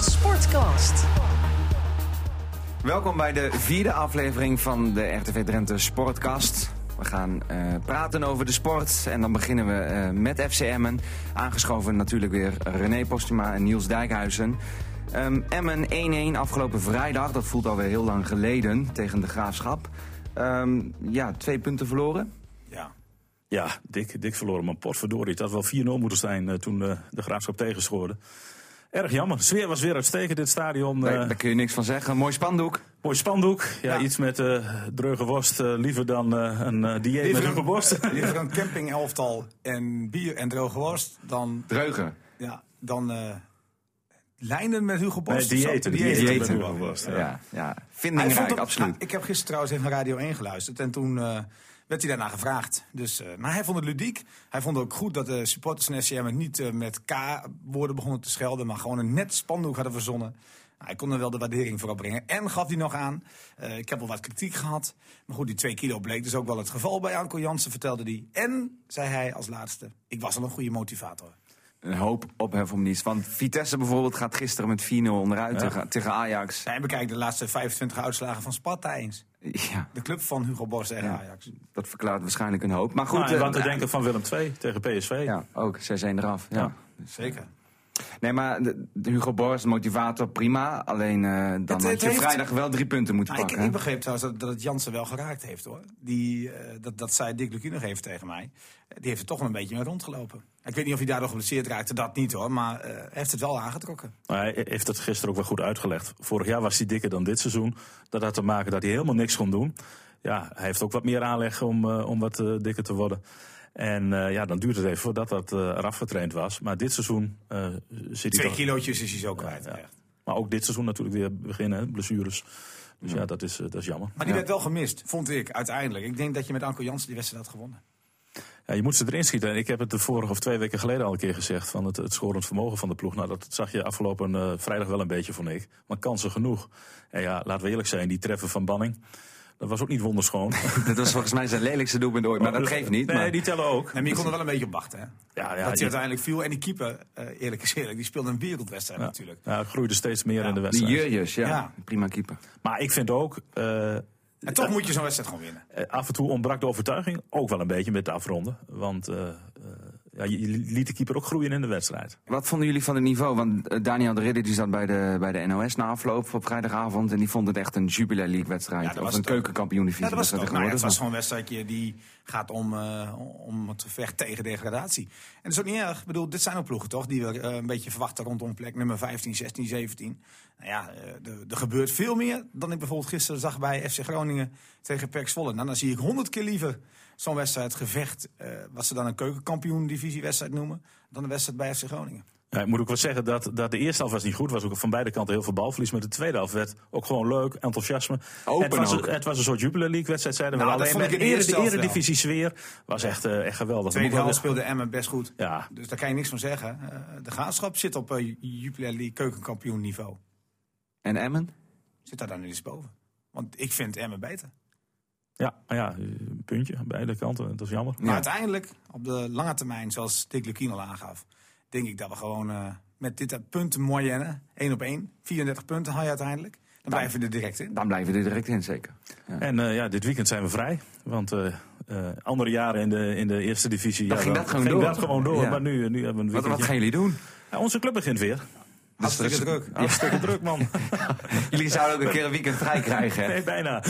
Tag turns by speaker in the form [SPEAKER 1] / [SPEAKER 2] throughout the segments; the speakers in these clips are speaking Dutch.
[SPEAKER 1] Sportcast.
[SPEAKER 2] Welkom bij de vierde aflevering van de RTV Drenthe Sportcast. We gaan eh, praten over de sport en dan beginnen we eh, met FC Emmen. Aangeschoven natuurlijk weer René Postuma en Niels Dijkhuizen. Ehm, Emmen 1-1 afgelopen vrijdag, dat voelt alweer heel lang geleden, tegen de Graafschap. Ehm, ja, twee punten verloren.
[SPEAKER 3] Ja. Ja, dik, dik verloren. Maar potverdorie, het had wel 4-0 moeten zijn eh, toen eh, de Graafschap tegenschoorde. Erg jammer. De sfeer was weer uitstekend in het stadion.
[SPEAKER 2] Daar,
[SPEAKER 3] Eh,
[SPEAKER 2] daar kun je niks van zeggen. Mooi spandoek.
[SPEAKER 3] mooi spandoek. Ja,
[SPEAKER 4] Ja.
[SPEAKER 3] Iets met eh dreuge worst. eh, liever dan eh, een eh, dieet met
[SPEAKER 4] Liever
[SPEAKER 3] een borst.
[SPEAKER 4] een, liever een campingelftal en bier en droge worst dan,
[SPEAKER 2] Dreugen.
[SPEAKER 4] ja, dan eh, lijnen met Hugo Borst.
[SPEAKER 3] Nee, diëten,
[SPEAKER 4] Zo,
[SPEAKER 3] diëten.
[SPEAKER 4] diëten.
[SPEAKER 3] Dreugen
[SPEAKER 2] Dreugen.
[SPEAKER 3] worst, ja.
[SPEAKER 2] Ja, ja.
[SPEAKER 4] Hij vond
[SPEAKER 2] Vindingrijk,
[SPEAKER 4] hem-
[SPEAKER 2] absoluut.
[SPEAKER 4] ah, ik heb gisteren trouwens even naar Radio 1 geluisterd en toen eh,
[SPEAKER 3] Nou,
[SPEAKER 4] werd hij daarna gevraagd. Dus, eh, maar hij vond het ludiek. Hij vond ook goed dat de supporters van SCM het niet eh, met K-woorden begonnen te schelden, maar gewoon een net spandoek hadden verzonnen. Nou, Hij kon er wel de waardering voor opbrengen. En gaf hij nog aan. eh, ik heb al wat kritiek gehad. Maar goed, die twee kilo bleek dus ook wel het geval bij Anko Jansen, vertelde hij. En, zei hij als laatste, ik was al een goede motivator.
[SPEAKER 2] een hoop ophef om niets. Want Vitesse bijvoorbeeld gaat gisteren met 4-0 onderuit
[SPEAKER 3] Ja.
[SPEAKER 2] tegen, tegen Ajax.
[SPEAKER 4] Zij bekijkt de laatste 25 uitslagen van Sparta eens.
[SPEAKER 2] Ja,
[SPEAKER 4] De club van Hugo Borst en
[SPEAKER 2] Ja.
[SPEAKER 4] Ajax.
[SPEAKER 2] dat verklaart waarschijnlijk een hoop. Maar goed,
[SPEAKER 3] Nou, en
[SPEAKER 2] eh,
[SPEAKER 3] wat te
[SPEAKER 2] ja,
[SPEAKER 3] denken van Willem II tegen PSV.
[SPEAKER 2] ja, ook 6-1 eraf. Ja. Dus-
[SPEAKER 3] Ja.
[SPEAKER 4] Zeker.
[SPEAKER 2] Nee, maar de- de Hugo Borst, motivator, prima. Alleen eh, dan
[SPEAKER 4] Het-
[SPEAKER 2] had
[SPEAKER 4] het
[SPEAKER 2] je
[SPEAKER 4] heeft-
[SPEAKER 2] vrijdag wel drie punten moeten
[SPEAKER 4] Nou, ik,
[SPEAKER 2] pakken.
[SPEAKER 4] ik
[SPEAKER 2] hè?
[SPEAKER 4] begreep trouwens dat, dat het Jansen wel geraakt heeft hoor. Die, eh, dat, dat zei Dick Lukien nog even tegen mij. Eh, Die heeft er toch wel een beetje mee rondgelopen. Ik weet niet of hij daardoor geblesseerd raakte, dat niet hoor. Maar eh, hij heeft het wel aangetrokken.
[SPEAKER 3] Maar hij heeft het gisteren ook wel goed uitgelegd. Vorig jaar was hij dikker dan dit seizoen. Dat had te maken dat hij helemaal niks kon doen. Ja, hij heeft ook wat meer aanleg om, eh, om wat eh, dikker te worden. En eh, ja, dan duurt het even voordat dat eh eraf getraind was. Maar dit seizoen eh, zit hij
[SPEAKER 4] Twee
[SPEAKER 3] toch...
[SPEAKER 4] kilootjes is hij zo kwijt.
[SPEAKER 3] ja.
[SPEAKER 4] echt.
[SPEAKER 3] Maar ook dit seizoen natuurlijk weer beginnen, hè, blessures. Dus ja, dat, is, eh, dat is jammer.
[SPEAKER 4] Maar die werd wel gemist, vond ik uiteindelijk. Ik denk dat je met Anko Jansen die wedstrijd had gewonnen.
[SPEAKER 3] Ja, je moet ze erin schieten. En ik heb het de vorige of twee weken geleden al een keer gezegd. Van het, het schorend vermogen van de ploeg. Nou, dat zag je afgelopen eh, vrijdag wel een beetje, vond ik. Maar kansen genoeg. En ja, laten we eerlijk zijn, die treffen van Banning. Dat was ook niet wonderschoon.
[SPEAKER 2] Dat was volgens mij zijn lelijkste doelpunt ooit. Maar dat geeft niet.
[SPEAKER 3] Nee,
[SPEAKER 2] maar-
[SPEAKER 3] die tellen ook.
[SPEAKER 4] Nee, maar je kon er wel een beetje op wachten. Hè?
[SPEAKER 3] ja,
[SPEAKER 4] dat hij
[SPEAKER 3] die-
[SPEAKER 4] uiteindelijk viel. En die keeper, eh, eerlijk is eerlijk, die speelde een wereldwedstrijd
[SPEAKER 3] Ja.
[SPEAKER 4] natuurlijk.
[SPEAKER 3] Ja, het groeide steeds meer in de
[SPEAKER 2] Die
[SPEAKER 3] wedstrijd.
[SPEAKER 2] Jurjes, ja.
[SPEAKER 4] Ja.
[SPEAKER 2] Prima keeper.
[SPEAKER 3] Maar ik vind ook, eh,
[SPEAKER 4] En toch moet je zo'n wedstrijd gewoon winnen.
[SPEAKER 3] Eh, af en toe ontbrak de overtuiging ook wel een beetje met de afronden. Want eh, eh, ja, je, je liet de keeper ook groeien in de wedstrijd.
[SPEAKER 2] Wat vonden jullie van het niveau? Want eh, Daniel de Ridder die zat bij de, bij de NOS na afloop op vrijdagavond. En die vond het echt een Jubilee League
[SPEAKER 4] Ja,
[SPEAKER 2] wedstrijd.
[SPEAKER 4] dat
[SPEAKER 2] of
[SPEAKER 4] was
[SPEAKER 2] een
[SPEAKER 4] het ook.
[SPEAKER 2] keukenkampioen divisie.
[SPEAKER 4] Ja, dat was het ook. Nou ja, het was
[SPEAKER 2] geworden.
[SPEAKER 4] gewoon een wedstrijdje die gaat om, eh, om het gevecht tegen degradatie. En dat is ook niet erg. Ik bedoel, dit zijn ook ploegen toch, die we eh, een beetje verwachten rondom plek nummer 15, 16, 17. Nou ja, eh, er- er gebeurt veel meer dan ik bijvoorbeeld gisteren zag bij FC Groningen tegen PEC Zwolle. Nou, dan zie ik honderd keer liever zo'n wedstrijd gevecht, eh, wat ze dan een keukenkampioen divisie wedstrijd noemen, dan een wedstrijd bij FC Groningen.
[SPEAKER 3] Ja, Nou, ik moet ook wel zeggen dat, dat de eerste helft was niet goed. was ook van beide kanten heel veel balverlies. Maar de tweede helft werd ook gewoon leuk, enthousiasme.
[SPEAKER 2] Open
[SPEAKER 3] het, was,
[SPEAKER 2] ook.
[SPEAKER 3] Een, het was een soort Jubilee League wedstrijd, zeiden we.
[SPEAKER 4] Nou, dat
[SPEAKER 3] Alleen
[SPEAKER 4] vond
[SPEAKER 3] maar
[SPEAKER 4] ik in
[SPEAKER 3] de
[SPEAKER 4] de eerste
[SPEAKER 3] eredivisie
[SPEAKER 4] helft
[SPEAKER 3] eredivisie sfeer was echt, eh, echt geweldig.
[SPEAKER 4] Tweede
[SPEAKER 3] Moet wel
[SPEAKER 4] helft speelde Emmen best goed.
[SPEAKER 3] zeggen. Ja,
[SPEAKER 4] Dus daar kan je niks van zeggen. Eh, de graafschap zit op eh Jupiler League keukenkampioen niveau.
[SPEAKER 2] En Emmen?
[SPEAKER 4] zit daar dan eens boven. Want ik vind Emmen beter.
[SPEAKER 3] ja, maar ja, een puntje aan beide kanten. Dat is jammer.
[SPEAKER 2] Ja.
[SPEAKER 4] Maar uiteindelijk, op de lange termijn, zoals Dick Lukien al aangaf, denk ik dat we gewoon eh, met dit eh, puntenmoyenne, één op één, 34 punten haal je uiteindelijk. Dan blijven we er direct in.
[SPEAKER 2] Dan blijven we er direct in, zeker.
[SPEAKER 3] En eh, ja, dit weekend zijn we vrij. Want eh, eh, andere jaren in de, in de eerste divisie
[SPEAKER 2] Dan
[SPEAKER 3] ja,
[SPEAKER 2] ging
[SPEAKER 3] dan
[SPEAKER 2] dat gewoon door.
[SPEAKER 3] dat gewoon door.
[SPEAKER 2] Ja.
[SPEAKER 3] Maar nu, nu hebben we een
[SPEAKER 2] Wat, wat
[SPEAKER 3] weekendje.
[SPEAKER 2] gaan jullie doen?
[SPEAKER 3] Ja, onze club begint weer.
[SPEAKER 4] Hartstikke
[SPEAKER 2] er
[SPEAKER 4] druk.
[SPEAKER 3] Hartstikke druk,
[SPEAKER 2] Nou,
[SPEAKER 3] man.
[SPEAKER 2] Jullie zouden ook een keer een weekend vrij krijgen. hè?
[SPEAKER 3] Nee, bijna.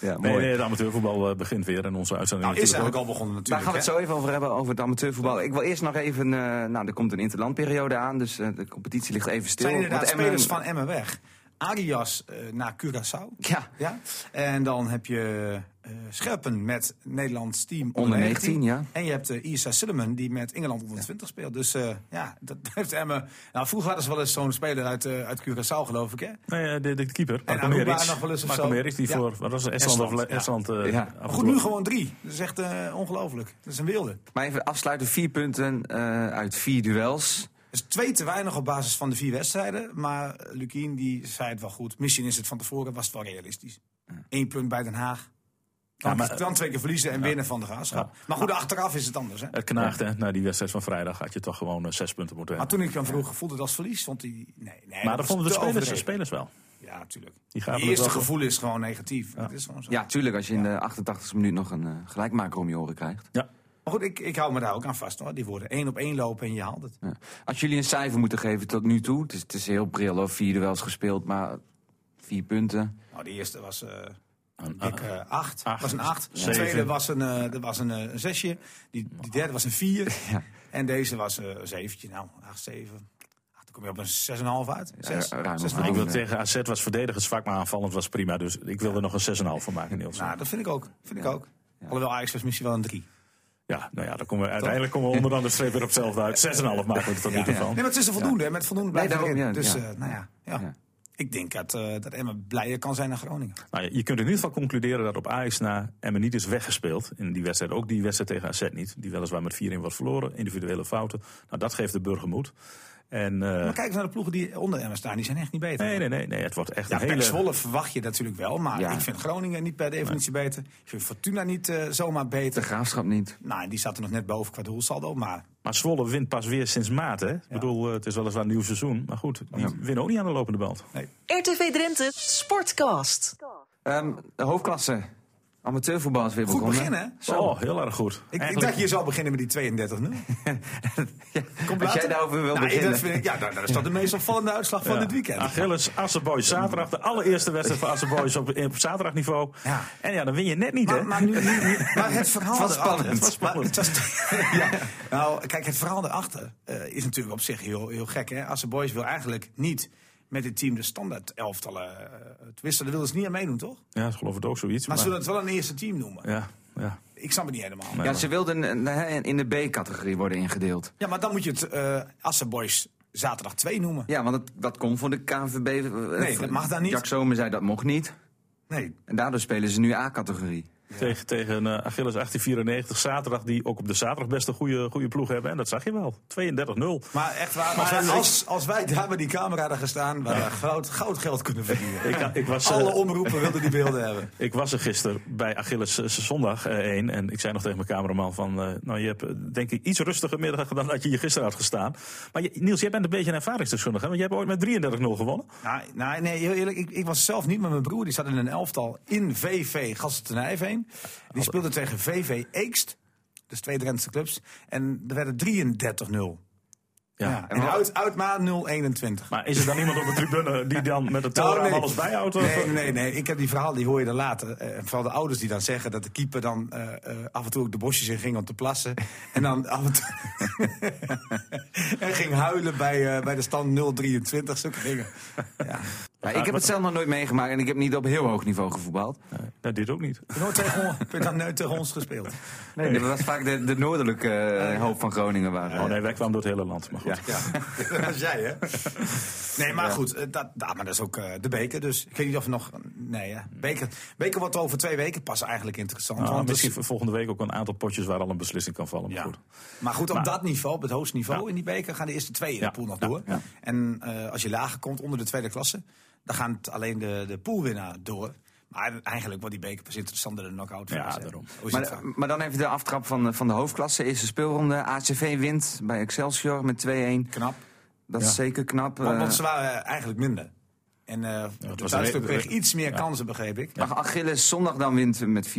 [SPEAKER 2] Ja, mooi.
[SPEAKER 3] Nee, nee, het amateurvoetbal eh, begint weer en onze uitzending
[SPEAKER 4] Nou, is
[SPEAKER 3] natuurlijk
[SPEAKER 4] eigenlijk al begonnen natuurlijk.
[SPEAKER 2] Daar gaan we het
[SPEAKER 4] hè.
[SPEAKER 2] zo even over hebben, over het amateurvoetbal. Ik wil eerst nog even, eh, nou er komt een interlandperiode aan, dus eh, de competitie ligt even stil.
[SPEAKER 4] zijn inderdaad
[SPEAKER 2] Want
[SPEAKER 4] spelers
[SPEAKER 2] Emmen-
[SPEAKER 4] van Emmen weg. Arias eh, naar Curaçao.
[SPEAKER 2] Ja,
[SPEAKER 4] Ja? En dan heb je eh Scherpen met Nederlands team onder,
[SPEAKER 2] onder
[SPEAKER 4] 19.
[SPEAKER 2] 19, ja.
[SPEAKER 4] En je hebt eh, Isa Silliman die met Engeland onder 20 speelt. Dus eh, ja, dat heeft Emmen. Nou, vroeger hadden ze wel eens zo'n speler uit, eh, uit Curaçao, geloof ik. Hè? Maar
[SPEAKER 3] Nee, eh, de, de keeper, Marco
[SPEAKER 4] Aruba
[SPEAKER 3] Meris.
[SPEAKER 4] nog wel eens of
[SPEAKER 3] Marco
[SPEAKER 4] zo.
[SPEAKER 3] Meris, die
[SPEAKER 4] Ja.
[SPEAKER 3] voor wat was het, Estland, of
[SPEAKER 4] Estland, ja.
[SPEAKER 3] Estland. eh,
[SPEAKER 2] Ja.
[SPEAKER 3] af en toe
[SPEAKER 4] goed, nu gewoon drie. Dat is echt eh, ongelooflijk. Dat is een wilde.
[SPEAKER 2] maar even afsluiten, vier punten eh, uit vier duels.
[SPEAKER 4] Dus twee te weinig op basis van de vier wedstrijden. Maar eh, Lukien die zei het wel goed. Misschien is het van tevoren was het wel realistisch. Eén punt bij Den Haag. Dan,
[SPEAKER 3] maar-
[SPEAKER 4] dan twee keer verliezen en winnen van de graafschap. Maar goed, achteraf is het anders. Hè?
[SPEAKER 3] Het knaagt, hè? Na eh, die wedstrijd van vrijdag had je toch gewoon eh, zes punten moeten
[SPEAKER 4] Maar
[SPEAKER 3] hebben.
[SPEAKER 4] toen ik hem vroeg, voelde het als verlies. Want die, nee, nee,
[SPEAKER 3] Maar dat vonden de
[SPEAKER 4] was te
[SPEAKER 3] spelers, de
[SPEAKER 4] overdreven.
[SPEAKER 3] spelers wel.
[SPEAKER 4] Ja, natuurlijk.
[SPEAKER 3] Die gaven
[SPEAKER 4] Het
[SPEAKER 3] het
[SPEAKER 4] eerste
[SPEAKER 3] wel goed.
[SPEAKER 4] gevoel is gewoon negatief. Dat is gewoon zo.
[SPEAKER 2] Ja, tuurlijk, als je in de 88e minuut nog een eh, gelijkmaker om je oren krijgt.
[SPEAKER 3] Ja.
[SPEAKER 4] Maar goed, ik, ik hou me daar ook aan vast. Hoor. Die worden één op één lopen en je haalt het.
[SPEAKER 2] Ja. Als jullie een cijfer moeten geven tot nu toe, het is, het is heel pril, hoor, vier duels gespeeld, maar vier punten.
[SPEAKER 4] Nou, de eerste was eh
[SPEAKER 3] Een-
[SPEAKER 4] een dikke eh, acht.
[SPEAKER 3] acht,
[SPEAKER 4] was een acht. De
[SPEAKER 3] zeven.
[SPEAKER 4] tweede was een, eh, er was een, eh, een zesje. Die, die derde was een vier.
[SPEAKER 2] Ja.
[SPEAKER 4] En deze was eh, een zeventje. Nou, acht, zeven. Ach, dan kom je op een zes en een half uit. Zes.
[SPEAKER 2] Ja, ruim
[SPEAKER 4] Zes
[SPEAKER 2] op.
[SPEAKER 4] en een
[SPEAKER 3] Ik
[SPEAKER 4] half.
[SPEAKER 3] wil
[SPEAKER 2] eh,
[SPEAKER 3] tegen AZ was verdedigend zwak, maar aanvallend was prima. Dus ik wil er nog een 6,5 van maken, Niels.
[SPEAKER 4] Nou, dat vind ik ook. Vind ik ook. Alhoewel Ajax was misschien wel een drie.
[SPEAKER 3] Ja, nou ja, dan komen we, uiteindelijk komen we onderaan de streep weer op hetzelfde uit. 6,5 maken we er tot nu toe
[SPEAKER 4] Ja. Nee,
[SPEAKER 3] van.
[SPEAKER 4] maar het is er voldoende. hè. Met voldoende
[SPEAKER 2] Nee,
[SPEAKER 4] blijft het
[SPEAKER 2] daarom,
[SPEAKER 4] erin.
[SPEAKER 2] ja,
[SPEAKER 4] Dus,
[SPEAKER 2] ja.
[SPEAKER 4] eh, nou ja. ja.
[SPEAKER 2] Ja.
[SPEAKER 4] Ik denk dat, eh, dat Emma blijer kan zijn dan Groningen.
[SPEAKER 3] Nou, je kunt in ieder geval concluderen dat op Ajax na Emmen niet is weggespeeld. In die wedstrijd, ook die wedstrijd tegen AZ niet. Die weliswaar met 4-1 was verloren. Individuele fouten. Nou, dat geeft de burger moed. En, eh,
[SPEAKER 4] Maar kijk eens naar de ploegen die onder Emma staan. Die zijn echt niet beter.
[SPEAKER 3] nee, nee, nee, nee. Het wordt echt
[SPEAKER 4] Ja,
[SPEAKER 3] een
[SPEAKER 4] Pek
[SPEAKER 3] hele...
[SPEAKER 4] Zwolle verwacht je natuurlijk wel. Maar
[SPEAKER 2] Ja.
[SPEAKER 4] ik vind Groningen niet per definitie beter. Ik vind Fortuna niet eh, zomaar
[SPEAKER 2] De
[SPEAKER 4] beter.
[SPEAKER 2] graafschap niet.
[SPEAKER 4] Nou, en die zaten nog net boven qua doelsaldo. Maar
[SPEAKER 3] Maar Zwolle wint pas weer sinds maart, hè? Ik bedoel, eh, het is weliswaar een nieuw seizoen. Maar goed, die winnen ook niet aan de lopende band.
[SPEAKER 1] RTV Drenthe Sportcast.
[SPEAKER 2] Ehm, de hoofdklasse, amateurvoetbal is weer
[SPEAKER 4] goed
[SPEAKER 2] begonnen.
[SPEAKER 4] beginnen. hè?
[SPEAKER 3] Oh, heel erg goed.
[SPEAKER 4] Ik, ik
[SPEAKER 3] Eigenlijk-
[SPEAKER 4] dacht, je zou beginnen met die 32 nu. Komt
[SPEAKER 2] Als jij
[SPEAKER 4] later.
[SPEAKER 2] daarover wil
[SPEAKER 4] Nou, ik-
[SPEAKER 2] beginnen.
[SPEAKER 4] dat vind ik- ja, nou, dat is toch de meest opvallende uitslag van
[SPEAKER 3] Ja.
[SPEAKER 4] dit weekend.
[SPEAKER 3] Achilles, Assenboys zaterdag. De allereerste wedstrijd van Assenboys op, op zaterdagniveau.
[SPEAKER 4] Ja.
[SPEAKER 3] En ja, dan win je net niet, hè?
[SPEAKER 4] Maar, maar, nu, nu- nu- maar het verhaal
[SPEAKER 2] Het was
[SPEAKER 4] erachter-
[SPEAKER 2] spannend.
[SPEAKER 4] het was spannend. ja. Nou, kijk, het verhaal erachter eh, is natuurlijk op zich heel, heel gek. Hè? Assen Boys wil eigenlijk niet met dit team de standaard elftallen eh, het wisselen. Daar wilden ze niet aan meedoen, toch? Maar,
[SPEAKER 3] Ja, ik geloof het ook zoiets. Maar,
[SPEAKER 4] ze willen het wel een eerste team noemen.
[SPEAKER 3] ja, ja.
[SPEAKER 4] Ik snap het niet helemaal.
[SPEAKER 2] Ja, ze wilden eh, hè, in de B-categorie worden ingedeeld.
[SPEAKER 4] Ja, maar dan moet je het eh Assen Boys zaterdag 2 noemen.
[SPEAKER 2] Ja, want het, dat kon voor de KNVB. eh,
[SPEAKER 4] Nee, dat mag daar niet.
[SPEAKER 2] Jack Zomer zei dat mocht niet.
[SPEAKER 4] Nee,
[SPEAKER 2] En daardoor spelen ze nu A-categorie.
[SPEAKER 3] Tegen, tegen eh, Achilles 1894 zaterdag. Die ook op de zaterdag best een goede, goede ploeg hebben. En dat zag je wel. 32-0.
[SPEAKER 4] maar echt waar.
[SPEAKER 3] Maar
[SPEAKER 4] als, wij,
[SPEAKER 3] ik-
[SPEAKER 4] als, als wij daar bij die camera hadden gestaan, we hadden goud, goud geld kunnen verdienen.
[SPEAKER 3] Ik, ik, was, eh,
[SPEAKER 4] Alle omroepen wilden die beelden hebben.
[SPEAKER 3] ik was er gisteren bij Achilles eh, zondag eh, één En ik zei nog tegen mijn cameraman van... eh, nou, je hebt eh, denk ik iets rustiger middag gedaan dan dat je hier gisteren had gestaan. Maar je- Niels, jij bent een beetje een ervaringsdeskundige. hè? Want jij hebt ooit met 33-0 gewonnen.
[SPEAKER 4] Nou, nou, nee, heel eerlijk, ik, ik was zelf niet met mijn broer. Die zat in een elftal in VV Gassentenijveen. Die speelde tegen VV Eekst, dus twee Drentse clubs. En er werden 33-0. Ja. en uit, uit maar 0-21.
[SPEAKER 3] Maar is er dan iemand op de tribune die dan met het
[SPEAKER 4] Nou,
[SPEAKER 3] telraam alles bijhoudt? eh? of-
[SPEAKER 4] Nee, nee, nee. Ik heb die verhaal, die hoor je dan later. Eh, vooral de ouders die dan zeggen dat de keeper dan eh, eh, af en toe ook de bosjes in ging om te plassen. En dan af en toe... en ging huilen bij, eh, bij de stand 023, zulke dingen. Ja.
[SPEAKER 2] Ja, ik heb het zelf nog nooit meegemaakt en ik heb niet op heel hoog niveau gevoetbald.
[SPEAKER 3] Nee, nou, dit ook niet.
[SPEAKER 4] Nooit tegen ons, heb je dan nooit tegen ons gespeeld.
[SPEAKER 2] Nee, dat was vaak de, de noordelijke eh, hoop van Groningen waren.
[SPEAKER 3] Oh nee, wij kwamen door het hele land. Maar goed.
[SPEAKER 4] Eh, Ja, dat was jij, hè? Nee, maar goed, eh, dat, dat, maar dat is ook eh, de beker. Dus ik weet niet of er nog. Nee, hè. Beker, beker wordt over twee weken pas eigenlijk interessant.
[SPEAKER 3] Nou,
[SPEAKER 4] want
[SPEAKER 3] misschien
[SPEAKER 4] dus-
[SPEAKER 3] voor volgende week ook een aantal potjes waar al een beslissing kan vallen. Maar
[SPEAKER 4] ja.
[SPEAKER 3] goed.
[SPEAKER 4] Maar goed, op
[SPEAKER 3] Maar-
[SPEAKER 4] dat niveau, op het hoogste niveau
[SPEAKER 3] Ja.
[SPEAKER 4] in die beker, gaan de eerste twee in
[SPEAKER 3] Ja,
[SPEAKER 4] de pool nog
[SPEAKER 3] ja,
[SPEAKER 4] door.
[SPEAKER 3] ja.
[SPEAKER 4] En eh, als je lager komt onder de tweede klasse, dan gaan het alleen de, de poolwinnaar door. Maar eigenlijk wordt die beker pas interessanter dan de knock-out.
[SPEAKER 3] Ja,
[SPEAKER 4] fase, hè.
[SPEAKER 3] daarom.
[SPEAKER 4] Hoe is het
[SPEAKER 2] Maar,
[SPEAKER 4] vaak?
[SPEAKER 2] maar dan even de aftrap van, de- van de hoofdklasse. Eerste speelronde. ACV wint bij Excelsior met 2-1.
[SPEAKER 4] knap.
[SPEAKER 2] Dat is zeker knap.
[SPEAKER 4] Want,
[SPEAKER 2] eh,
[SPEAKER 4] want ze waren eh, eigenlijk minder. En eh
[SPEAKER 3] was
[SPEAKER 4] de thuisclub
[SPEAKER 3] re-
[SPEAKER 4] kreeg
[SPEAKER 3] re-
[SPEAKER 4] iets meer kansen, begreep ik.
[SPEAKER 2] Ach- Achilles zondag dan wint met 4-0.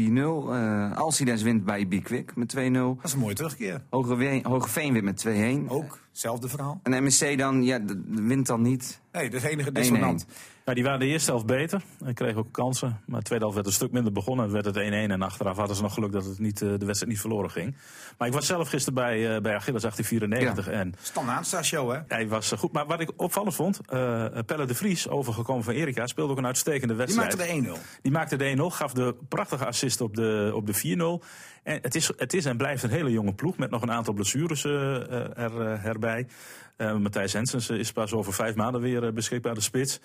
[SPEAKER 2] Eh Alcides wint bij Bikwik met 2-0.
[SPEAKER 4] Dat is een mooie terugkeer.
[SPEAKER 2] Hogeveen, Hogeveen wint met 2-1.
[SPEAKER 4] Ook, zelfde verhaal.
[SPEAKER 2] En MSC dan, ja, d- d- wint dan niet.
[SPEAKER 4] Nee, dat is enige dissonant.
[SPEAKER 3] Ja, Nou, die waren de eerste helft beter en kregen ook kansen. Maar de tweede helft werd een stuk minder begonnen. Werd het 1-1 en achteraf hadden ze nog geluk dat het niet, eh, de wedstrijd niet verloren ging. Maar ik was zelf gisteren bij, eh, bij Achilles 1894 en
[SPEAKER 4] Standaard show, hè?
[SPEAKER 3] hij was eh, goed. Maar wat ik opvallend vond, eh Pelle de Vries, overgekomen van Erika, speelde ook een uitstekende
[SPEAKER 4] Die
[SPEAKER 3] wedstrijd.
[SPEAKER 4] maakte de 1-0.
[SPEAKER 3] Die maakte de 1-0, gaf de prachtige assist op de, op de 4-0. En het is, het is en blijft een hele jonge ploeg met nog een aantal blessures eh, er, eh, erbij. Eh, Matthijs Hensens is pas over vijf maanden weer eh, beschikbaar, de spits.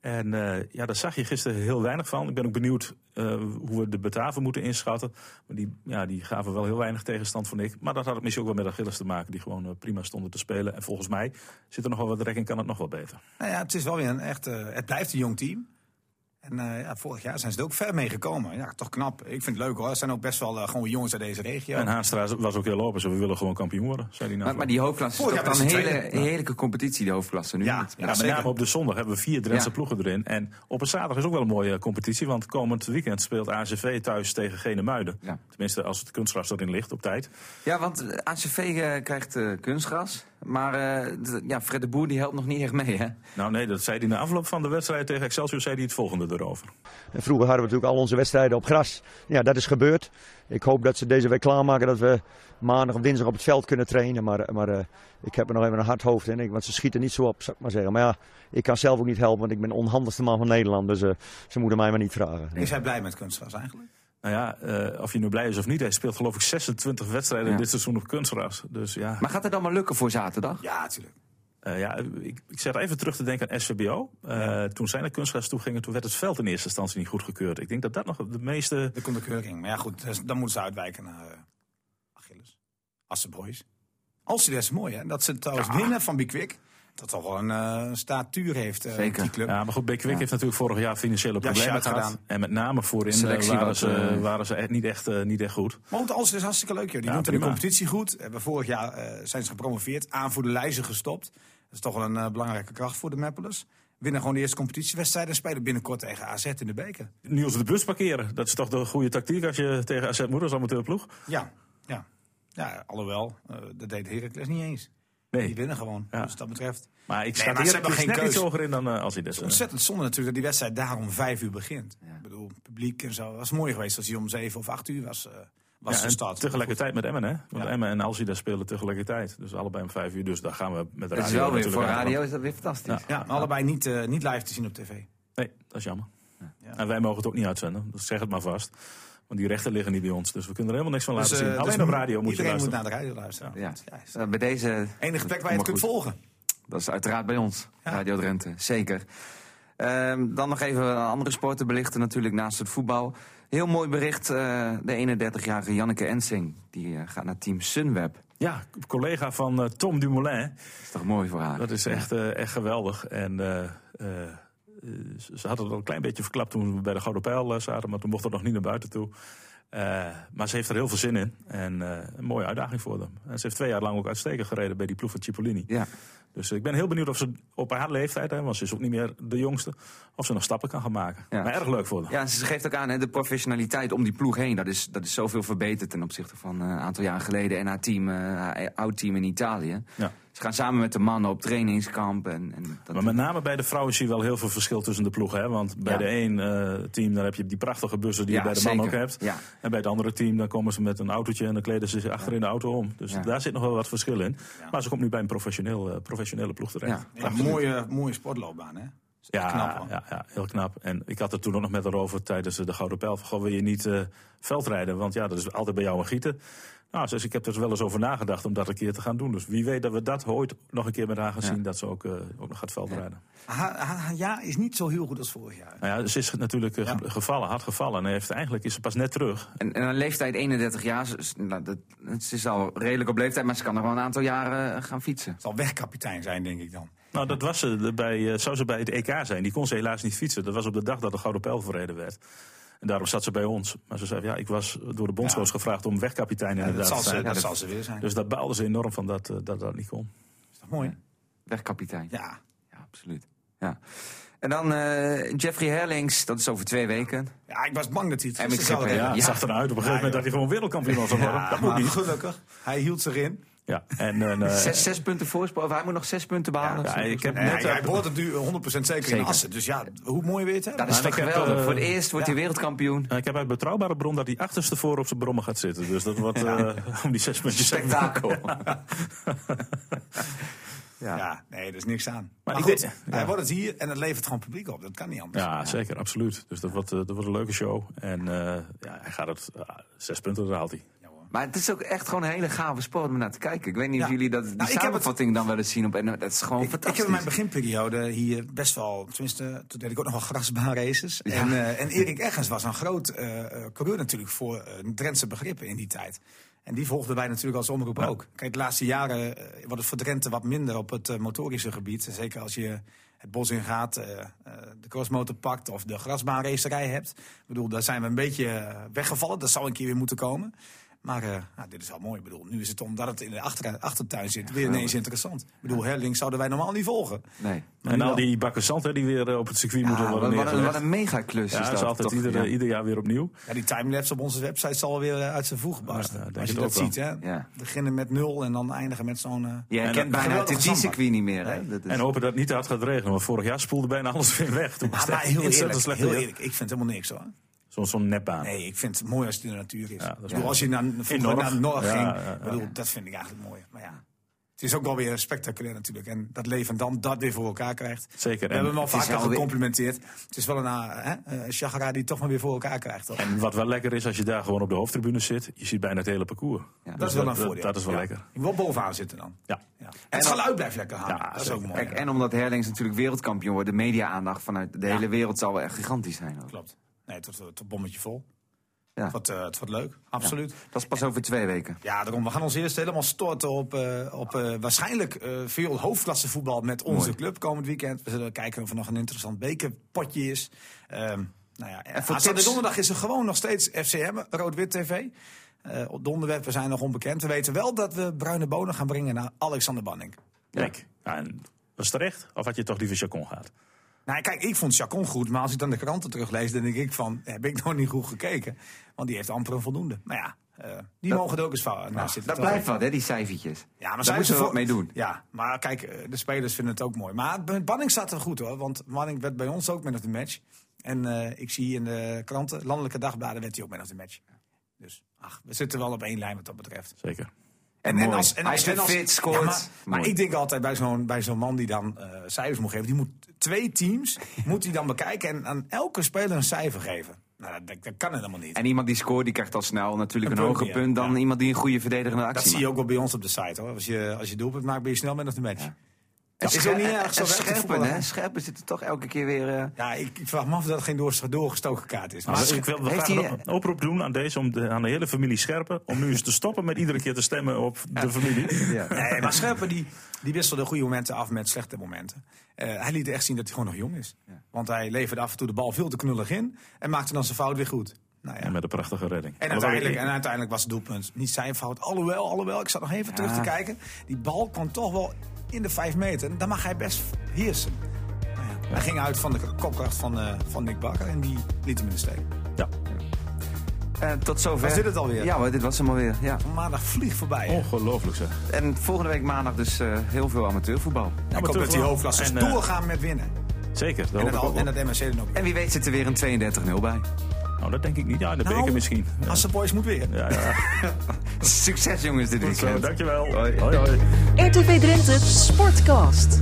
[SPEAKER 3] En eh, ja, daar zag je gisteren heel weinig van. Ik ben ook benieuwd eh, hoe we de Bataven moeten inschatten. Maar die, ja, die gaven wel heel weinig tegenstand, vond ik. Maar dat had het misschien ook wel met Achilles te maken, die gewoon eh, prima stonden te spelen. En volgens mij zit er nog wel wat rek en kan het nog wel beter.
[SPEAKER 4] Nou ja, het is wel weer een echt. eh, het blijft een jong team. En En eh, ja, vorig jaar zijn ze er ook ver mee gekomen. Ja, toch knap. Ik vind het leuk hoor. Er zijn ook best wel eh, gewoon jongens uit deze regio.
[SPEAKER 3] En Haastra was ook heel lopen. Ze we willen gewoon kampioen worden, zei hij nou.
[SPEAKER 2] Maar, maar die hoofdklasse is
[SPEAKER 4] Vorig
[SPEAKER 2] toch
[SPEAKER 4] jaar
[SPEAKER 2] dan een
[SPEAKER 4] was het
[SPEAKER 2] hele,
[SPEAKER 4] tweede.
[SPEAKER 2] heerlijke competitie, de hoofdklasse. Nu
[SPEAKER 4] Ja,
[SPEAKER 2] niet.
[SPEAKER 4] ja.
[SPEAKER 3] Ja, met
[SPEAKER 4] zeker.
[SPEAKER 3] name op de zondag hebben we vier Drentse
[SPEAKER 2] Ja.
[SPEAKER 3] ploegen erin. En op een zaterdag is ook wel een mooie competitie. Want komend weekend speelt ACV thuis tegen Genemuiden.
[SPEAKER 2] Ja.
[SPEAKER 3] Tenminste, als het kunstgras erin ligt op tijd.
[SPEAKER 2] Ja, want eh, ACV eh, krijgt eh, kunstgras. Maar eh, d- ja, Fred de Boer die helpt nog niet echt mee, hè?
[SPEAKER 3] Nou nee, dat zei hij na afloop van de wedstrijd tegen Excelsior. Zei hij het volgende erover.
[SPEAKER 5] En vroeger hadden we natuurlijk al onze wedstrijden op gras. Ja, dat is gebeurd. Ik hoop dat ze deze week klaarmaken dat we maandag of dinsdag op het veld kunnen trainen. Maar, maar eh, ik heb er nog even een hard hoofd in. Ik- Want ze schieten niet zo op, zou ik maar zeggen. Maar ja, ik kan zelf ook niet helpen, want ik ben de onhandigste man van Nederland. Dus eh, ze moeten mij maar niet vragen.
[SPEAKER 4] Is hij blij met kunstgras eigenlijk?
[SPEAKER 3] Nou ja, eh, of je nu blij is of niet. Hij speelt geloof ik 26 wedstrijden
[SPEAKER 2] Ja.
[SPEAKER 3] dit seizoen op kunstgras. Dus ja,
[SPEAKER 2] Maar gaat het dan maar lukken voor zaterdag?
[SPEAKER 4] Ja, natuurlijk.
[SPEAKER 3] eh, ja ik, ik zat even terug te denken aan SVBO. Eh, Toen zij naar kunstgras toe gingen, toen werd het veld in eerste instantie niet goedgekeurd. Ik denk dat dat nog de meeste...
[SPEAKER 4] Er komt een keuring. Maar ja, goed, dus dan moeten ze uitwijken naar eh, Achilles. Assenboys. Als ze dat is mooi, hè? Dat ze trouwens winnen van Bikwik. Dat toch wel een eh, statuur heeft, eh,
[SPEAKER 2] Zeker.
[SPEAKER 4] die club.
[SPEAKER 3] Ja, maar goed, Bekwik heeft natuurlijk vorig jaar financiële problemen
[SPEAKER 4] shout
[SPEAKER 3] gehad.
[SPEAKER 4] gedaan.
[SPEAKER 3] En met name voorin eh,
[SPEAKER 2] Selectie
[SPEAKER 3] waren,
[SPEAKER 2] wat,
[SPEAKER 3] ze,
[SPEAKER 2] eh,
[SPEAKER 3] waren ze echt niet, echt, eh, niet echt goed.
[SPEAKER 4] Maar ook alles is hartstikke leuk, joh. Die
[SPEAKER 3] Ja,
[SPEAKER 4] doen het in de
[SPEAKER 3] prima.
[SPEAKER 4] competitie goed. Hebben vorig jaar eh, zijn ze gepromoveerd. Aanvoerder Leijzen gestopt. Dat is toch wel een eh, belangrijke kracht voor de Meppelers. Winnen gewoon de eerste competitiewedstrijd en spelen binnenkort tegen AZ in de beker.
[SPEAKER 3] Niels de bus parkeren, dat is toch de goede tactiek als je tegen AZ moet als amateurploeg?
[SPEAKER 4] Ja, ja. Ja, alhoewel, eh, dat deed Heracles niet eens. Die
[SPEAKER 3] Nee,
[SPEAKER 4] winnen gewoon,
[SPEAKER 3] Ja.
[SPEAKER 4] dus dat betreft.
[SPEAKER 3] maar ik
[SPEAKER 4] Nee,
[SPEAKER 3] sta
[SPEAKER 4] maar
[SPEAKER 3] hier dus
[SPEAKER 4] ze hebben
[SPEAKER 3] net
[SPEAKER 4] geen
[SPEAKER 3] iets
[SPEAKER 4] keus.
[SPEAKER 3] hoger in dan eh, als hij dit eh,
[SPEAKER 4] Ontzettend zonde natuurlijk dat die wedstrijd daar om vijf uur begint. Ik bedoel, publiek en zo. was mooi geweest als die om zeven of acht uur was, eh was
[SPEAKER 3] ja, en
[SPEAKER 4] gestart.
[SPEAKER 3] tegelijkertijd met Emmen, hè? Want
[SPEAKER 4] Ja.
[SPEAKER 3] Emmen en Alcida spelen tegelijkertijd. Dus allebei om vijf uur. Dus daar gaan we met de radio
[SPEAKER 2] Dat is wel weer voor
[SPEAKER 3] natuurlijk aan.
[SPEAKER 2] radio, is dat weer fantastisch.
[SPEAKER 4] Ja, maar allebei niet, eh, niet live te zien op tv.
[SPEAKER 3] Nee, dat is jammer. En wij mogen het ook niet uitzenden. Dus zeg het maar vast. Want die rechten liggen niet bij ons. Dus we kunnen er helemaal niks van laten
[SPEAKER 4] eh,
[SPEAKER 3] zien. Alleen
[SPEAKER 4] dus
[SPEAKER 3] op radio moet je
[SPEAKER 4] iedereen
[SPEAKER 3] luisteren.
[SPEAKER 4] moet naar de radio luisteren.
[SPEAKER 2] Ja.
[SPEAKER 4] Ja, is
[SPEAKER 2] Eh, Bij deze.
[SPEAKER 4] de enige plek waar je
[SPEAKER 2] Maar
[SPEAKER 4] het kunt
[SPEAKER 2] goed.
[SPEAKER 4] volgen.
[SPEAKER 2] Dat is uiteraard bij ons,
[SPEAKER 4] Ja.
[SPEAKER 2] Radio Drenthe, zeker. Ehm, dan nog even een andere sporten belichten, natuurlijk naast het voetbal. Heel mooi bericht, eh, de 31-jarige Janneke Ensing. Die eh, gaat naar team Sunweb.
[SPEAKER 3] Ja, collega van eh, Tom Dumoulin.
[SPEAKER 2] Dat is toch mooi voor haar?
[SPEAKER 3] Dat is echt, eh, echt geweldig. En eh, eh, eh, ze ze hadden het al een klein beetje verklapt toen we bij de Gouden Pijl eh, zaten. Maar toen mocht dat nog niet naar buiten toe. Eh, maar ze heeft er heel veel zin in. En eh, een mooie uitdaging voor hem. En ze heeft twee jaar lang ook uitstekend gereden bij die ploeg van Cipollini.
[SPEAKER 2] Ja.
[SPEAKER 3] Dus ik ben heel benieuwd of ze op haar leeftijd, hè, want ze is ook niet meer de jongste, of ze nog stappen kan gaan maken.
[SPEAKER 2] Ja.
[SPEAKER 3] Maar erg leuk voor haar.
[SPEAKER 2] ja, ze geeft ook aan, hè, de professionaliteit om die ploeg heen. Dat is, dat is zoveel verbeterd ten opzichte van eh, een aantal jaar geleden. En haar team, eh, haar oud team in Italië.
[SPEAKER 3] Ja.
[SPEAKER 2] Ze gaan samen met de mannen op trainingskamp. En, en dat,
[SPEAKER 3] Maar met name bij de vrouwen zie je wel heel veel verschil tussen de ploegen. Hè? Want bij
[SPEAKER 2] Ja.
[SPEAKER 3] de een eh, team daar heb je die prachtige bussen die
[SPEAKER 2] Ja,
[SPEAKER 3] je bij de man
[SPEAKER 2] zeker.
[SPEAKER 3] ook hebt.
[SPEAKER 2] Ja.
[SPEAKER 3] En bij het andere team dan komen ze met een autootje en dan kleden ze zich achter in de auto om. Dus
[SPEAKER 2] Ja.
[SPEAKER 3] daar zit nog wel wat verschil in. Maar ze komt nu bij een professioneel, eh, professionele ploeg terecht.
[SPEAKER 2] Ja.
[SPEAKER 4] Ja, een mooie, mooie sportloopbaan, hè? Is echt
[SPEAKER 3] Ja,
[SPEAKER 4] knap, hoor.
[SPEAKER 3] ja, ja, heel knap. En ik had het toen ook nog met haar over tijdens eh, de Gouden Pijl. van, Goh, wil je niet eh, veldrijden? Want ja, dat is altijd bij jou een gieten. Nou, dus ik heb er wel eens over nagedacht om dat een keer te gaan doen. Dus wie weet dat we dat ooit nog een keer met haar gaan zien. Dat ze ook, eh, ook nog gaat veldrijden.
[SPEAKER 4] Haar, haar, haar jaar is niet zo heel goed als vorig jaar.
[SPEAKER 3] Nou ja, ze is natuurlijk eh, ge- gevallen, hard gevallen. En heeft, eigenlijk is ze pas net terug.
[SPEAKER 2] En, en een leeftijd 31 jaar, ze, ze- nou, dat, ze is al redelijk op leeftijd, maar ze kan nog wel een aantal jaren eh, gaan fietsen.
[SPEAKER 4] Zal wegkapitein zijn, denk ik dan.
[SPEAKER 3] Nou, dat was ze er bij, eh, zou ze bij het EK zijn. Die kon ze helaas niet fietsen. Dat was op de dag dat de Gouden Pijl verreden werd. En daarom zat ze bij ons. Maar ze zei, ja, ik was door de bondscoach
[SPEAKER 4] Ja.
[SPEAKER 3] gevraagd om wegkapitein
[SPEAKER 4] dat
[SPEAKER 3] inderdaad
[SPEAKER 4] zal
[SPEAKER 3] te
[SPEAKER 4] ze,
[SPEAKER 3] zijn.
[SPEAKER 4] dat zal ze weer zijn.
[SPEAKER 3] Dus daar baalde ze enorm van dat eh, dat, dat niet kon.
[SPEAKER 4] is toch mooi?
[SPEAKER 2] Wegkapitein.
[SPEAKER 4] Ja.
[SPEAKER 2] Ja, absoluut. Ja. En dan eh, Jeffrey Herlings, dat is over twee weken.
[SPEAKER 4] Ja, ik was bang dat hij het
[SPEAKER 2] En ik
[SPEAKER 4] gisteren zou
[SPEAKER 2] schip,
[SPEAKER 3] Ja,
[SPEAKER 4] hebben.
[SPEAKER 3] het zag eruit op een gegeven moment dat hij gewoon wereldkampioen was.
[SPEAKER 4] Ja,
[SPEAKER 3] dat moet
[SPEAKER 4] maar
[SPEAKER 3] niet.
[SPEAKER 4] gelukkig. Hij hield zich in.
[SPEAKER 3] Ja, en, en, eh,
[SPEAKER 2] Zes, zes punten voorsprong, of hij moet nog zes punten behalen.
[SPEAKER 3] ja, ik heb
[SPEAKER 4] Nee,
[SPEAKER 3] net...
[SPEAKER 4] hij
[SPEAKER 3] eh,
[SPEAKER 4] wordt het nu 100% zeker, in
[SPEAKER 2] Zeker.
[SPEAKER 4] Assen. Dus ja, hoe mooi weer het hebben?
[SPEAKER 2] Dat is
[SPEAKER 3] Maar
[SPEAKER 2] toch
[SPEAKER 3] ik heb,
[SPEAKER 2] geweldig.
[SPEAKER 3] eh,
[SPEAKER 2] Voor het eerst wordt
[SPEAKER 4] ja.
[SPEAKER 2] hij wereldkampioen.
[SPEAKER 3] ik heb uit betrouwbare bron dat hij achterstevoren op zijn brommen gaat zitten. Dus dat wordt eh, om die zes puntjes.
[SPEAKER 2] Spektakel.
[SPEAKER 4] Ja. nee, er is niks aan. Maar,
[SPEAKER 3] ik
[SPEAKER 4] goed,
[SPEAKER 3] denk-
[SPEAKER 4] hij wordt het hier en het levert gewoon publiek op. Dat kan niet anders.
[SPEAKER 3] Ja, zeker, absoluut. Dus dat wordt, eh, dat wordt een leuke show. En eh, ja, hij gaat het, ah, zes punten daar haalt hij.
[SPEAKER 2] Maar het is ook echt gewoon een hele gave sport om naar te kijken. Ik weet niet of
[SPEAKER 4] Ja.
[SPEAKER 2] jullie dat, die
[SPEAKER 4] Nou, ik heb
[SPEAKER 2] samenvatting dan wel eens zien op en Dat is gewoon
[SPEAKER 4] Ik, ik heb
[SPEAKER 2] fantastisch.
[SPEAKER 4] in mijn beginperiode hier best wel, tenminste, toen deed ik ook nog wel grasbaanraces. En, eh, en Erik Eggens was een groot eh, eh, coureur natuurlijk voor eh Drentse begrippen in die tijd. En die volgden wij natuurlijk als omroep ook. Kijk, de laatste jaren eh, wordt het voor Drenthe wat minder op het eh, motorische gebied. Zeker als je het bos in gaat, eh, eh, de crossmotor pakt of de grasbaanracerij hebt. Ik bedoel, daar zijn we een beetje eh, weggevallen. Dat zou een keer weer moeten komen. Maar eh, nou, dit is wel mooi. Ik bedoel, nu is het omdat het in de achter- achtertuin zit weer ineens interessant. Ik bedoel, Herling zouden wij normaal niet volgen.
[SPEAKER 2] Nee.
[SPEAKER 4] Maar
[SPEAKER 3] en
[SPEAKER 4] nu
[SPEAKER 3] al
[SPEAKER 4] wel.
[SPEAKER 3] die bakken zand hè, die weer eh, op het circuit
[SPEAKER 2] Ja,
[SPEAKER 3] moeten
[SPEAKER 2] wat,
[SPEAKER 3] worden
[SPEAKER 2] wat een,
[SPEAKER 3] neergelegd.
[SPEAKER 2] wat een megaclus
[SPEAKER 3] ja,
[SPEAKER 2] is
[SPEAKER 3] dat
[SPEAKER 2] dat.
[SPEAKER 3] is altijd
[SPEAKER 2] toch?
[SPEAKER 3] ieder, eh,
[SPEAKER 2] Ja. Dus-
[SPEAKER 3] ieder jaar weer opnieuw.
[SPEAKER 4] Ja, die timelapse op onze website zal weer eh, uit zijn voegen barsten.
[SPEAKER 3] Ja, denk
[SPEAKER 4] als je
[SPEAKER 3] het
[SPEAKER 4] dat
[SPEAKER 3] ook wel.
[SPEAKER 4] ziet, hè.
[SPEAKER 2] Ja.
[SPEAKER 4] Beginnen met nul en dan eindigen met zo'n... eh,
[SPEAKER 2] Je herkent
[SPEAKER 3] En
[SPEAKER 4] dat-
[SPEAKER 2] bijna het
[SPEAKER 4] geweldige
[SPEAKER 2] circuit niet meer. Hè? Dat is-
[SPEAKER 3] En hopen dat het niet te hard gaat regenen. Want vorig jaar spoelde bijna alles weer weg. Toen was
[SPEAKER 4] Maar,
[SPEAKER 3] het
[SPEAKER 4] maar heel,
[SPEAKER 3] ontzettend
[SPEAKER 4] eerlijk,
[SPEAKER 3] slecht
[SPEAKER 4] heel
[SPEAKER 3] weer.
[SPEAKER 4] eerlijk, ik vind helemaal niks hoor.
[SPEAKER 3] Zo'n zo'n nepbaan.
[SPEAKER 4] Nee, ik vind het mooi als het in de natuur is.
[SPEAKER 3] Ja, dat is
[SPEAKER 4] Ik bedoel,
[SPEAKER 3] mooi.
[SPEAKER 4] als je naar, vroeger
[SPEAKER 3] Norg.
[SPEAKER 4] naar Norg
[SPEAKER 3] Ja, ja,
[SPEAKER 4] ging,
[SPEAKER 3] ja.
[SPEAKER 4] ik bedoel, dat vind ik eigenlijk mooi. Maar ja, het is ook wel weer spectaculair natuurlijk. En dat Leven dan dat weer voor elkaar krijgt.
[SPEAKER 3] Zeker.
[SPEAKER 4] We
[SPEAKER 3] En
[SPEAKER 4] hebben hem al
[SPEAKER 2] het is
[SPEAKER 4] vaker
[SPEAKER 2] wel weer-
[SPEAKER 4] gecomplimenteerd. Het is wel een eh, hè, eh, Chagara die het toch maar weer voor elkaar krijgt. Toch?
[SPEAKER 3] En wat wel lekker is, als je daar gewoon op de hoofdtribune zit, je ziet bijna het hele parcours.
[SPEAKER 2] Ja.
[SPEAKER 4] dat is wel een
[SPEAKER 3] dat-
[SPEAKER 4] voordeel.
[SPEAKER 3] dat is wel
[SPEAKER 4] Ja.
[SPEAKER 3] lekker.
[SPEAKER 4] Je wil bovenaan zitten dan.
[SPEAKER 3] Ja.
[SPEAKER 4] Ja. En het geluid blijft lekker hangen.
[SPEAKER 3] Ja,
[SPEAKER 4] dat is
[SPEAKER 3] zeker.
[SPEAKER 4] ook mooi.
[SPEAKER 2] Kijk, en omdat Herlings natuurlijk wereldkampioen wordt, de media-aandacht vanuit de hele wereld zal wel echt gigantisch zijn. Ook.
[SPEAKER 4] Klopt. Nee, het wordt, het wordt bommetje vol.
[SPEAKER 2] Ja.
[SPEAKER 4] Het, wordt, eh, het wordt leuk, absoluut.
[SPEAKER 2] Dat is pas over twee weken.
[SPEAKER 4] Ja, daarom. We gaan ons eerst helemaal storten op, eh, op eh, waarschijnlijk eh, veel hoofdklasse voetbal met onze
[SPEAKER 2] Mooi.
[SPEAKER 4] club komend weekend. We zullen kijken of er nog een interessant bekerpotje is. Ehm nou ja, en
[SPEAKER 2] voor
[SPEAKER 4] aanstaande
[SPEAKER 2] tips?
[SPEAKER 4] donderdag is er gewoon nog steeds FCM, Rood-Wit TV. Eh, op de onderwerpen zijn nog onbekend. We weten wel dat we bruine bonen gaan brengen naar Alexander Banning.
[SPEAKER 3] Kijk, ja, en was het terecht? Of had je toch liever Chacon gehad?
[SPEAKER 4] Nou, kijk, ik vond Chacon goed, maar als ik dan de kranten teruglees, dan denk ik van, heb ik nog niet goed gekeken? Want die heeft amper een voldoende. Maar ja, eh, die mogen er ook eens van naast zitten.
[SPEAKER 2] Dat
[SPEAKER 4] toch?
[SPEAKER 2] blijft wat, hè, die cijfertjes.
[SPEAKER 4] Ja, maar
[SPEAKER 2] Daar
[SPEAKER 4] zij
[SPEAKER 2] moeten we
[SPEAKER 4] ze
[SPEAKER 2] wat mee doen.
[SPEAKER 4] Ja, maar kijk, eh, de spelers vinden het ook mooi. Maar met Banning staat er goed hoor, want Banning werd bij ons ook man of the match. En eh, ik zie in de kranten, landelijke dagbladen, werd hij ook man of the match. Dus, ach, we zitten wel op één lijn wat dat betreft.
[SPEAKER 3] Zeker.
[SPEAKER 4] En,
[SPEAKER 2] Mooi. Hij is weer fit, scoort.
[SPEAKER 4] Ja, maar maar
[SPEAKER 2] Mooi.
[SPEAKER 4] ik denk altijd bij zo'n bij zo'n man die dan eh, cijfers moet geven, die moet twee teams moet hij dan bekijken en aan elke speler een cijfer geven. Nou, dat, dat kan helemaal niet.
[SPEAKER 2] En iemand die scoort, die krijgt al snel natuurlijk een,
[SPEAKER 4] Een punt
[SPEAKER 2] hoger
[SPEAKER 4] meer,
[SPEAKER 2] punt dan
[SPEAKER 4] ja.
[SPEAKER 2] iemand die een goede verdedigende actie
[SPEAKER 4] dat zie
[SPEAKER 2] maakt.
[SPEAKER 4] je ook wel bij ons op de site hoor. Als je, als je doelpunt maakt, ben je snel man of the match.
[SPEAKER 2] Ja.
[SPEAKER 4] Dat is
[SPEAKER 2] Scher-
[SPEAKER 4] ook niet erg. Zo
[SPEAKER 2] en
[SPEAKER 4] werkt het voetbal,
[SPEAKER 2] scherpen,
[SPEAKER 4] hè?
[SPEAKER 2] hè? Scherpen zitten toch elke keer weer... eh,
[SPEAKER 4] Ja, ik, ik vraag me af of dat geen doorge- doorgestoken kaart is. Maar
[SPEAKER 3] Dus ik wil
[SPEAKER 2] heeft
[SPEAKER 3] graag
[SPEAKER 2] hij-
[SPEAKER 3] een oproep doen aan deze, om de, aan de hele familie Scherpen, om nu eens te stoppen met iedere keer te stemmen op de familie.
[SPEAKER 2] ja.
[SPEAKER 4] Nee, maar Scherpen die, die wisselde goede momenten af met slechte momenten. Eh, hij liet echt zien dat hij gewoon nog jong is. Want hij leverde af en toe de bal veel te knullig in en maakte dan zijn fout weer goed. Nou ja.
[SPEAKER 3] En met een prachtige redding.
[SPEAKER 4] En
[SPEAKER 3] Alhoewel,
[SPEAKER 4] uiteindelijk,
[SPEAKER 3] ik-
[SPEAKER 4] en uiteindelijk was het doelpunt niet zijn fout. Alhoewel, alhoewel, ik zat nog even terug te kijken. Die bal kwam toch wel in de vijf meter. En daar mag hij best heersen. Nou ja, Hij ging uit van de kopkracht van, eh, van Nick Bakker en die liet hem in de steek.
[SPEAKER 3] Ja,
[SPEAKER 2] Eh, tot zover.
[SPEAKER 4] Was dit het alweer?
[SPEAKER 2] Ja, hoor, dit was hem alweer. Ja.
[SPEAKER 4] Maandag vliegt voorbij. hè.
[SPEAKER 3] ongelooflijk zeg.
[SPEAKER 2] En volgende week maandag dus eh, heel veel amateurvoetbal.
[SPEAKER 4] ik hoop dat die hoofdklassers
[SPEAKER 3] En, eh,
[SPEAKER 4] doorgaan met winnen.
[SPEAKER 3] Zeker, dat
[SPEAKER 4] En
[SPEAKER 3] hoop ik
[SPEAKER 4] dat,
[SPEAKER 3] ook
[SPEAKER 4] en
[SPEAKER 3] wel.
[SPEAKER 4] dat MSC dan ook.
[SPEAKER 2] En wie weet zit er weer een 32-0 bij.
[SPEAKER 3] Nou, dat denk ik niet. Ja, in de
[SPEAKER 4] Nou,
[SPEAKER 3] beker misschien. Ja.
[SPEAKER 4] Als de boys moet weer.
[SPEAKER 3] Ja, ja.
[SPEAKER 2] Succes jongens dit
[SPEAKER 3] Goed zo,
[SPEAKER 2] weekend.
[SPEAKER 3] dankjewel.
[SPEAKER 2] Hoi.
[SPEAKER 3] hoi.
[SPEAKER 1] RTV Drenthe Sportcast.